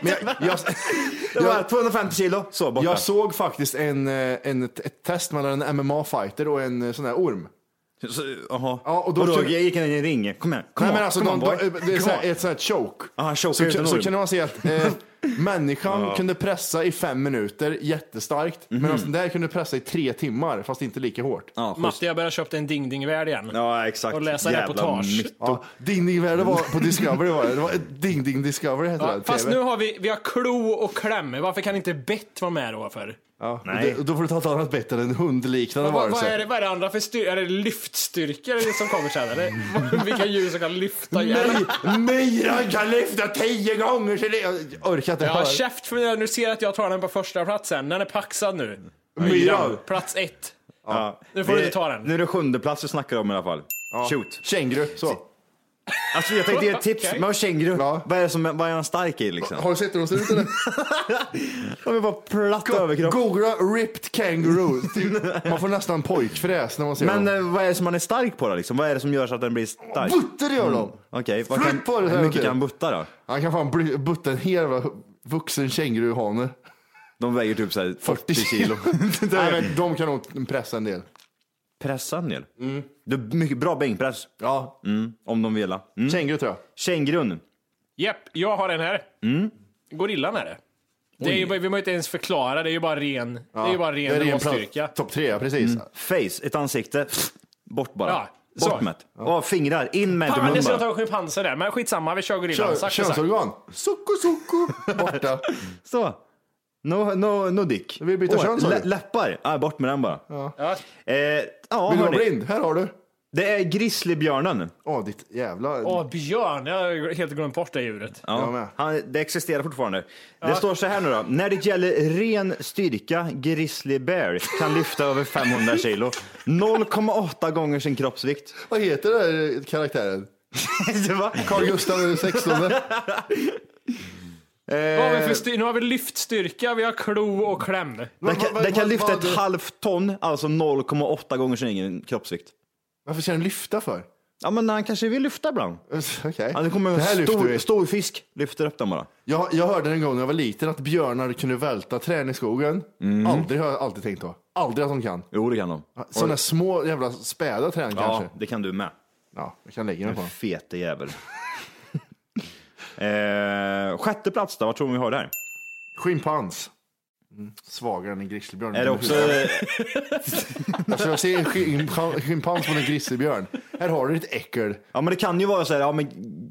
Speaker 5: Men jag, jag,
Speaker 3: Det var 250 kilo, så borta.
Speaker 5: jag såg faktiskt en, eh, en, ett ett test mellan en MMA-fighter och en eh, sån här orm.
Speaker 3: Så, Jaha.
Speaker 5: Ja, och då-
Speaker 3: och då gick han in i en ring. Kom igen, kom
Speaker 5: Nej,
Speaker 3: on,
Speaker 5: men alltså,
Speaker 3: kom on,
Speaker 5: de,
Speaker 3: boy.
Speaker 5: de, det är
Speaker 3: Kom
Speaker 5: så
Speaker 3: on.
Speaker 5: här, ett sånt här choke.
Speaker 3: Ja, han chokar
Speaker 5: så,
Speaker 3: ut en
Speaker 5: så, så
Speaker 3: orm.
Speaker 5: kunde man se att eh, människan
Speaker 3: Ja. Mhm.
Speaker 5: kunde pressa i fem minuter jättestarkt, medan den där kunde pressa i tre timmar, fast inte lika hårt.
Speaker 3: Ja, schysst.
Speaker 8: Matti, jag börjar köpa en dingdingvärld igen.
Speaker 3: Ja, exakt.
Speaker 8: Och läsa
Speaker 3: Jävla
Speaker 8: reportage.
Speaker 3: mytto.
Speaker 5: Ja, Ding Ding Värld var på Discovery var det. Det var ett Ding Ding Discovery hette
Speaker 8: Ja,
Speaker 5: det.
Speaker 8: fast
Speaker 5: TV.
Speaker 8: nu har vi, vi har klo och kläm. Varför kan inte bett vara med då för?
Speaker 5: Ja, och
Speaker 3: Nej.
Speaker 5: det, då får du ta ett annat bett än en hundliknande
Speaker 8: Vad, vad, är
Speaker 5: varelse.
Speaker 8: det, vad är det andra för styr? Är det lyftstyrkor som kommer sen eller? Vilka djur som kan lyfta ihjäl?
Speaker 5: Nej, myran kan lyfta tio gånger så det... Jag orkar inte höra.
Speaker 8: Ja, käft för när du ser att jag tar den på första platsen. Den är paxad nu.
Speaker 5: Myran.
Speaker 8: Plats ett.
Speaker 3: Ja.
Speaker 8: Nu får
Speaker 3: Det-
Speaker 8: du ta den.
Speaker 3: Nu är det sjunde plats vi snackar om i alla fall. Shoot.
Speaker 5: Känguru, så.
Speaker 3: Alltså jag tänkte ge ett tips.
Speaker 8: Okej.
Speaker 3: Men känguru,
Speaker 5: Ja.
Speaker 3: vad är det som, vad är han stark i liksom?
Speaker 5: Har du sett hur de ser ut eller?
Speaker 3: De är bara platt överkropp.
Speaker 5: Googla ripped kangaroo. Typ, Man får nästan pojkfräs när man ser
Speaker 3: Men
Speaker 5: dem.
Speaker 3: eh, vad är det som han är stark på då liksom? Vad är det som gör så att den blir stark? Mm.
Speaker 5: Butter gör de!
Speaker 3: Okej, vad
Speaker 5: Flytt på
Speaker 3: kan,
Speaker 5: det
Speaker 3: hur
Speaker 5: här
Speaker 3: mycket
Speaker 5: till.
Speaker 3: kan han butta då?
Speaker 5: Han kan fan bli- butta en hel jävla vuxen känguruhane.
Speaker 3: De väger typ såhär
Speaker 5: 40
Speaker 3: 40 kilo.
Speaker 5: Nej, men de kan nog pressa en del.
Speaker 3: Pressa en del. Det är mycket bra bänkpress.
Speaker 5: Mm. Ja,
Speaker 3: Mm, om de vill. Mm.
Speaker 5: känguru tror jag.
Speaker 3: Kängurun.
Speaker 8: Japp, jag har en här. Gorillan är det. det är ju, bara- vi behöver inte ens förklara, det är ju bara ren, det är ju bara ren,
Speaker 5: plats-
Speaker 8: råstyrka.
Speaker 5: Topp tre, ja, precis.
Speaker 3: Mm. Face, ett ansikte. Bort bara.
Speaker 8: Ja, så.
Speaker 3: Bort med det. Ja, fingrar, in med det i
Speaker 8: Fan,
Speaker 3: munnen
Speaker 8: jag skulle
Speaker 3: bara.
Speaker 8: ta schimpanser där, men skitsamma, vi kör gorillan.
Speaker 5: Kö-
Speaker 8: Sakta, sakta.
Speaker 5: Könsorgan. Socko, socko. Borta.
Speaker 3: Så. No, no, no dick.
Speaker 5: vill byta
Speaker 3: Åh,
Speaker 5: kön, sa du?
Speaker 3: lä- Läppar. Ah, bort med den bara.
Speaker 8: Ja.
Speaker 3: Eh, ja,
Speaker 5: Vill du vara
Speaker 3: hörni.
Speaker 5: blind? Här har du.
Speaker 3: Det är grizzlybjörnen.
Speaker 5: Åh, ditt jävla...
Speaker 8: Åh, björn. Jag har helt glömt bort det djuret.
Speaker 5: Jag med.
Speaker 3: Han, det existerar fortfarande. Det står så här nu då. När det gäller ren styrka, grizzly bear kan lyfta över 500 kilo. 0,8 gånger sin kroppsvikt.
Speaker 5: Vad heter den här karaktären?
Speaker 3: Det var-
Speaker 5: Carl Gustaf den 16.
Speaker 8: Vad har vi för styr- nu har vi lyftstyrka, vi har klo och kläm.
Speaker 3: Den kan, den kan lyfta ett halvt ton, alltså 0,8 gånger sin egen kroppsvikt.
Speaker 5: Varför ska den lyfta för?
Speaker 3: Ja, men han kanske vill lyfta ibland.
Speaker 5: Okej.
Speaker 3: Ja, det kommer en
Speaker 5: Det här lyfter
Speaker 3: stor,
Speaker 5: vi.
Speaker 3: stor fisk, lyfter upp den bara.
Speaker 5: Jag, jag hörde en gång när jag var liten att björnar kunde välta träd i skogen.
Speaker 3: Mm.
Speaker 5: Aldrig har jag alltid tänkt på. Aldrig att de kan.
Speaker 3: Jo, det kan de.
Speaker 5: Sådana
Speaker 3: Och-
Speaker 5: små jävla späda träd
Speaker 3: Ja,
Speaker 5: kanske.
Speaker 3: det kan du med.
Speaker 5: Ja, jag kan lägga mig på
Speaker 3: Den
Speaker 5: dem.
Speaker 3: fete jävel. eh, sjätte plats då, vad tror ni vi har där?
Speaker 5: Schimpans. Mm. Svagare än en grizzlybjörn.
Speaker 3: Är det också-
Speaker 5: alltså jag ser en schimpa- schimpans mot en grizzlybjörn. Här har du ditt äckel.
Speaker 3: Ja, men det kan ju vara så här, ja men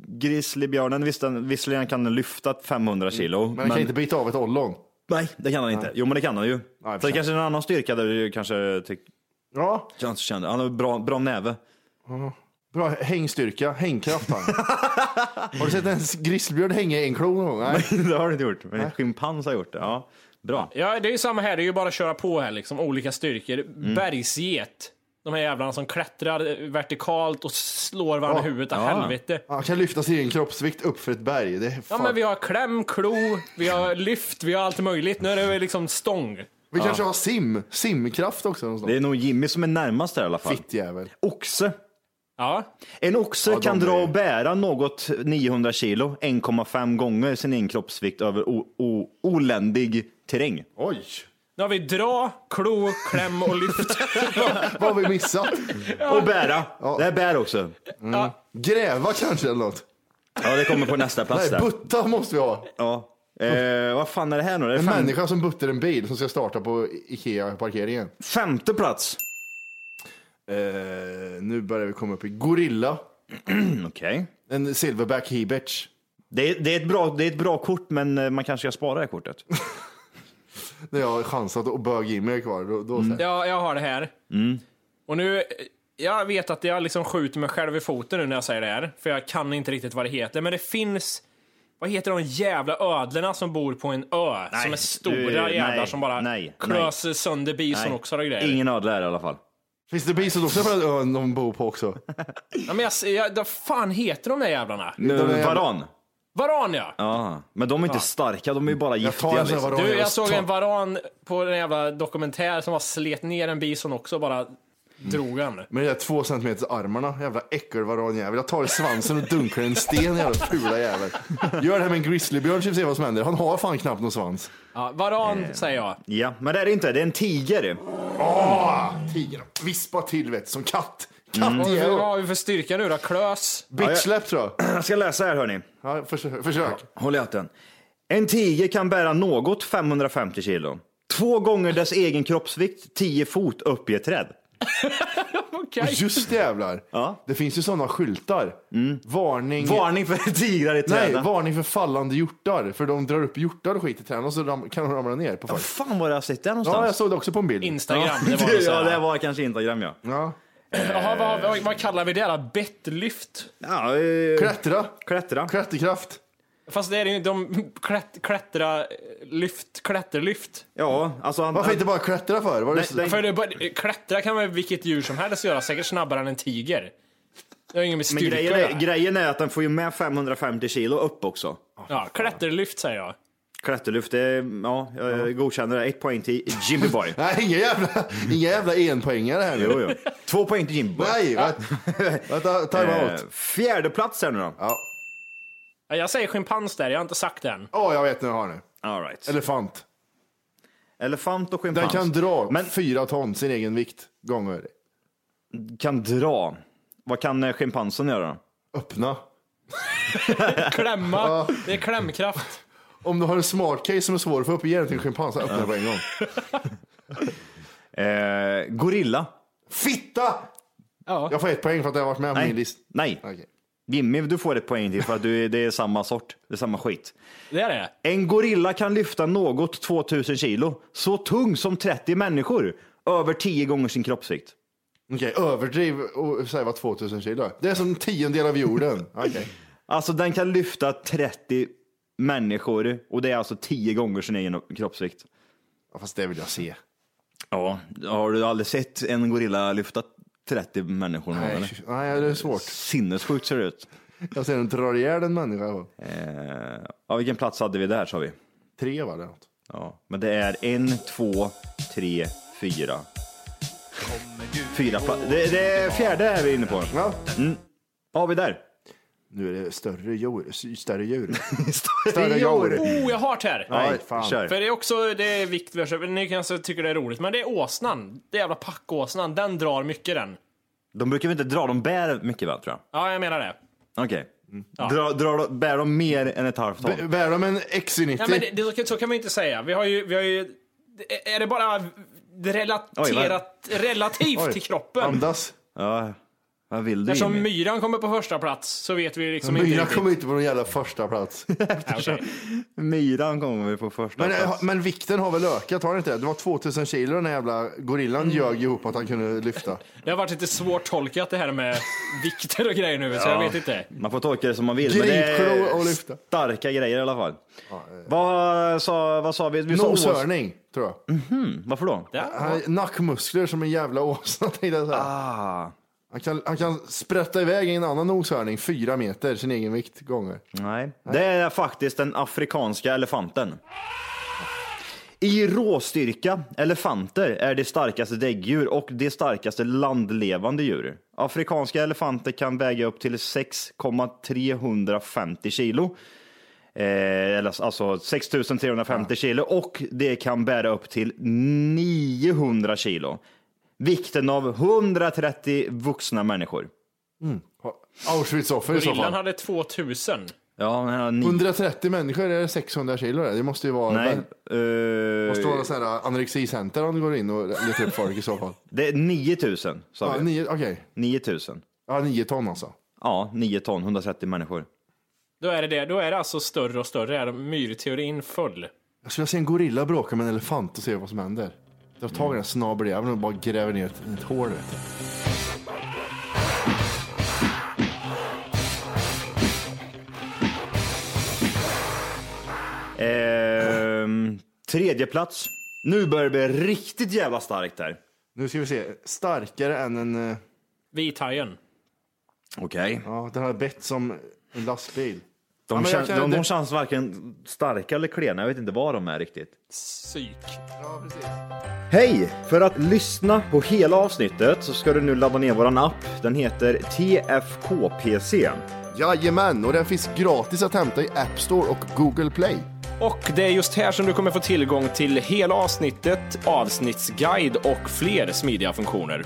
Speaker 3: grizzlybjörnen, visst den- visserligen kan den lyfta 500 kilo.
Speaker 5: Men den kan inte bita av ett ollon.
Speaker 3: Nej, det kan han inte. Jo, men det kan han ju. så det
Speaker 5: sig.
Speaker 3: kanske är en annan styrka där du kanske tyck,
Speaker 5: Ja.
Speaker 3: kanske känner, han har bra, bra näve.
Speaker 5: Ja. Bra hängstyrka, hängkraft han. har du sett en grizzlybjörn hänga i en klo någon gång? Nej.
Speaker 3: det har du inte gjort, men en schimpans har gjort det. Ja, bra.
Speaker 8: Ja, det är ju samma här, det är ju bara att köra på här liksom, olika styrkor. Bergsget. De här jävlarna som klättrar eh, vertikalt och slår varandra i huvudet av helvete.
Speaker 5: Han kan lyfta sin egen kroppsvikt upp för ett berg. Det är
Speaker 8: Ja
Speaker 5: fan.
Speaker 8: men vi har kläm, klo, vi har lyft, vi har allt möjligt. Nu är det väl liksom stång.
Speaker 5: Vi kanske har sim, simkraft också.
Speaker 3: Det är nog Jimmy som är närmast där i alla fall.
Speaker 5: Fittjävel.
Speaker 3: Oxe.
Speaker 8: Ja.
Speaker 3: En oxe
Speaker 5: Ja, de
Speaker 3: kan
Speaker 5: är-
Speaker 3: dra och bära något 900 kilo, 1,5 gånger sin egen kroppsvikt över o- o- oländig terräng.
Speaker 5: Oj!
Speaker 8: Nu har vi dra, klo, kläm och lyft.
Speaker 5: Vad har vi missat?
Speaker 3: Och bära. Det är bär också.
Speaker 5: Gräva kanske eller något?
Speaker 3: Ja, det kommer på nästa plats
Speaker 5: Nej,
Speaker 3: där.
Speaker 5: butta måste vi ha.
Speaker 3: Ja. Eh, vad fan är det här nu? Det är
Speaker 5: En
Speaker 3: fem-
Speaker 5: människa som buttar en bil som ska starta på Ikea-parkeringen.
Speaker 3: Femte plats.
Speaker 5: Eh, nu börjar vi komma upp i gorilla.
Speaker 3: Mm, Okej.
Speaker 5: En silverback hebetch.
Speaker 3: Det, är- det, är ett bra- det är ett bra kort, men eh, man kanske ska spara det här kortet.
Speaker 5: När jag har chansat och bög i mig kvar. Då, då så här.
Speaker 3: Mm.
Speaker 8: Ja, jag har det här. Och nu, eh, jag vet att jag liksom skjuter mig själv i foten nu när jag säger det här, för jag kan inte riktigt vad det heter, men det finns vad heter de jävla ödlorna som bor på en ö?
Speaker 3: Nej,
Speaker 8: som är stora
Speaker 3: du-
Speaker 8: jävlar
Speaker 3: nej,
Speaker 8: som bara
Speaker 3: nej,
Speaker 8: klöser sönder bison
Speaker 3: Nej.
Speaker 8: också och grejer.
Speaker 3: Ingen ödla är det i alla fall.
Speaker 5: Finns det bison också på den ön de bor på också?
Speaker 8: Ja, men jag, s- jag, vad fan heter de där jävlarna?
Speaker 3: Nu,
Speaker 5: De är-
Speaker 3: varan.
Speaker 8: Varan ja!
Speaker 3: Ja, men de är inte
Speaker 8: Ja.
Speaker 3: starka, de är ju bara giftiga.
Speaker 5: tar en sån här
Speaker 3: liksom.
Speaker 5: varan.
Speaker 8: Du, jag
Speaker 5: jag
Speaker 8: såg
Speaker 5: ta-
Speaker 8: en varan på en jävla dokumentär som bara slet ner en bison också och bara drog han.
Speaker 5: Med de där två centimeters armarna, jävla äckelvaranjävel. Jag tar i svansen och dunkar i en sten, jävla fula jävel. Gör det här med en grizzlybjörn så vi ser vad som händer. Han har fan knappt någon svans.
Speaker 8: Ja, varan
Speaker 3: Eh.
Speaker 8: säger jag.
Speaker 3: Ja, men det är det inte. Det är en tiger.
Speaker 5: Åh! Ah, Tiger. Vispa till vet du, som katt.
Speaker 8: Vad
Speaker 3: Mm.
Speaker 8: har vi-
Speaker 5: Kattjävel.
Speaker 8: Vad har vi för styrka nu då? Klös?
Speaker 5: Bitchsläpp tror jag.
Speaker 3: Jag ska läsa här hörni.
Speaker 5: Ja, försök. försök.
Speaker 3: Håll i hatten. En tiger kan bära något 550 kilo. Två gånger dess egen kroppsvikt, 10 fot upp i ett träd.
Speaker 8: Okej.
Speaker 5: Och Just det, jävlar. Det finns ju sådana skyltar.
Speaker 3: Mm.
Speaker 5: Varning.
Speaker 3: Varning för tigrar i
Speaker 5: Nej,
Speaker 3: träden.
Speaker 5: varning för fallande hjortar. För de drar upp hjortar och skit i träden och så ram- kan de ramla ner på
Speaker 3: Vad
Speaker 5: folk.
Speaker 3: fan var det jag sett där någonstans?
Speaker 5: Ja, jag såg det också på en bild.
Speaker 8: Instagram.
Speaker 3: Ja,
Speaker 8: Det var något så
Speaker 3: ja,
Speaker 8: här.
Speaker 3: det var kanske Instagram ja.
Speaker 5: Ja.
Speaker 8: Jaha, vad, vad, vad kallar vi det? då? Bettlyft?
Speaker 3: ja eh,
Speaker 5: Klättra.
Speaker 3: klättra.
Speaker 5: Klätterkraft.
Speaker 8: Fast det är ju de klätt, klättra, lyft, klätterlyft.
Speaker 3: Ja, alltså han...
Speaker 5: Varför inte bara klättra för? Var det
Speaker 3: Nej,
Speaker 8: För det, är bara- klättra kan väl vilket djur som helst göra, säkert snabbare än en tiger. Det har ju ingen med
Speaker 3: Men
Speaker 8: styrka
Speaker 3: grejen
Speaker 8: att
Speaker 3: är,
Speaker 8: göra.
Speaker 3: grejen är att den får ju med 550 kilo upp också.
Speaker 8: Ja, klätterlyft säger jag.
Speaker 3: Klätterlyft, det, är- ja, jag godkänner det. Ett poäng till Jimmy Boy.
Speaker 5: Nej, inga jävla, inga jävla enpoängare här nu.
Speaker 3: jo, jo. Två poäng till Jimmy Boy.
Speaker 5: Nej, vänta, vänta time out.
Speaker 3: Eh, Fjärde plats här nu då.
Speaker 5: Ja,
Speaker 8: Ja, Jag säger schimpans där, jag har inte sagt det än.
Speaker 5: Åh, jag vet nu jag har nu.
Speaker 3: All right.
Speaker 5: Elefant.
Speaker 3: Elefant och
Speaker 5: Den
Speaker 3: schimpans.
Speaker 5: kan dra
Speaker 3: Men-
Speaker 5: fyra ton sin egen vikt gånger.
Speaker 3: kan dra. Vad kan eh, schimpansen göra?
Speaker 5: Öppna.
Speaker 8: Klämma, det är klämkraft.
Speaker 5: Om du har en smart case som är svår att få upp, ge den till en schimpans. Öppna på en gång.
Speaker 3: Eh, gorilla.
Speaker 5: Fitta!
Speaker 8: Ja.
Speaker 5: Jag får ett poäng för att jag har varit med på
Speaker 3: Nej.
Speaker 5: min list.
Speaker 3: Nej.
Speaker 5: Okej.
Speaker 3: Jimmy, du får ett poäng till för att du, är- det är samma sort. Det är samma skit.
Speaker 8: Det är det.
Speaker 3: En gorilla kan lyfta något 2000 kilo, så tung som 30 människor, över 10 gånger sin kroppsvikt.
Speaker 5: Okej, överdriv och säg vad 2000 kilo är. Det är som en tiondel av jorden. Okej.
Speaker 3: Alltså den kan lyfta 30 människor och det är alltså 10 gånger sin egen kroppsvikt.
Speaker 5: Ja, fast det vill jag se.
Speaker 3: Ja, har du aldrig sett en gorilla lyfta 30 människor? någon gång, eller?
Speaker 5: Nej, nej, det är svårt.
Speaker 3: Sinnessjukt ser det ut.
Speaker 5: Jag ser den drar ihjäl en människa.
Speaker 3: Eh, ja, vilken plats hade vi där sa vi?
Speaker 5: Tre var det.
Speaker 3: Ja, men det är en, två, tre, fyra. Fyra platser. Det, det är fjärde är vi inne på.
Speaker 5: Ja.
Speaker 3: Mm. Har vi där?
Speaker 5: Nu är det större djur. Större djur.
Speaker 3: Större djur.
Speaker 8: Oh, jag har det här!
Speaker 5: Nej, fan.
Speaker 8: För det är också det är vikt versus- Ni kanske tycker det är roligt, men det är åsnan. Det är jävla packåsnan. Den drar mycket den.
Speaker 3: De brukar väl inte dra, de bär mycket väl tror
Speaker 8: Ja, Mm. jag menar det.
Speaker 3: jag. Okej. Dra, dra, bär de mer än ett halvt ton?
Speaker 5: B- Bär de en XC90?
Speaker 8: Ja, men det, det, så kan- så kan man ju inte säga. Vi har ju... Vi har ju det- är det bara relaterat, relativt
Speaker 3: Oj.
Speaker 8: till kroppen?
Speaker 5: Andas.
Speaker 3: Ja, vad vill du
Speaker 8: Eftersom
Speaker 3: Jimmy?
Speaker 8: myran kommer på första plats så vet vi liksom inte
Speaker 5: Myra
Speaker 8: riktigt.
Speaker 5: kom inte på någon jävla första plats.
Speaker 8: Eftersom-
Speaker 3: Myran kommer vi på första
Speaker 5: Men, eh,
Speaker 3: plats.
Speaker 5: men vikten har väl ökat, har den inte det? Det var 2000 kilo den här jävla gorillan
Speaker 8: Mm.
Speaker 5: ljög ihop att han kunde lyfta.
Speaker 8: Det har varit lite svårt tolkat det här med vikter och grejer nu, så jag
Speaker 3: Ja.
Speaker 8: vet inte.
Speaker 3: Man får tolka det som man vill. Men det
Speaker 5: Gripklo och eh.
Speaker 3: är
Speaker 5: lyfta.
Speaker 3: starka grejer i alla fall. Vad, sa, vad sa vi? vi sa ås-
Speaker 5: Noshörning, tror jag.
Speaker 8: Mm.
Speaker 3: Mhm, Varför då?
Speaker 5: Han, nackmuskler som en jävla åsna, tänkte jag säga.
Speaker 8: Ah.
Speaker 3: Ah.
Speaker 5: Han, kan, han kan sprätta iväg i en annan noshörning fyra meter, sin egen vikt gånger.
Speaker 3: Nej. Det är faktiskt den afrikanska elefanten. I råstyrka, elefanter är de starkaste däggdjur och de starkaste landlevande djur. Afrikanska elefanter kan väga upp till 6,350 kilo. Eh, eller alltså 6350 kilo och det kan bära upp till 900 kilo. Vikten av 130 vuxna människor.
Speaker 5: Auschwitz-offer i så
Speaker 8: Gorillan
Speaker 5: fall.
Speaker 8: hade 2000.
Speaker 3: Ja, men, ja, ni-
Speaker 5: 130 människor, är det 600 kilo det? Det måste ju vara...
Speaker 3: Nej.
Speaker 5: det måste vara
Speaker 3: eh,
Speaker 5: någon sån här anorexicenter om du går in och letar upp folk i så fall.
Speaker 3: Det är 9000 sa
Speaker 5: Ja,
Speaker 3: vi.
Speaker 5: nio, okej.
Speaker 3: 9000.
Speaker 5: Ja, nio ton alltså.
Speaker 3: Ja, 9 ton, 130 människor.
Speaker 8: Då är det, det. Då är det alltså större och större. Är de- Myrteorin full.
Speaker 5: Jag skulle vilja se en gorilla bråka med en elefant och se vad som händer. Dra tag i den här snabeljäveln och bara gräver ner ett, ett hål. Vet du.
Speaker 3: Ehm, tredje plats. Nu börjar det bli riktigt jävla starkt här.
Speaker 5: Nu ska vi se. Starkare än en... eh,
Speaker 8: Vithajen.
Speaker 3: Okej.
Speaker 5: Ja, den har bett som en lastbil.
Speaker 3: De,
Speaker 5: ja, men jag
Speaker 3: kän- de,
Speaker 5: det-
Speaker 3: de känns varken starka eller klena. Jag vet inte vad de är riktigt.
Speaker 8: Psyk.
Speaker 3: Hej! För att lyssna på hela avsnittet så ska du nu ladda ner våran app. Den heter TFKPC.
Speaker 5: Jajamän, och den finns gratis att hämta i App Store och Google Play.
Speaker 8: Och det är just här som du kommer få tillgång till hela avsnittet, avsnittsguide och fler smidiga funktioner.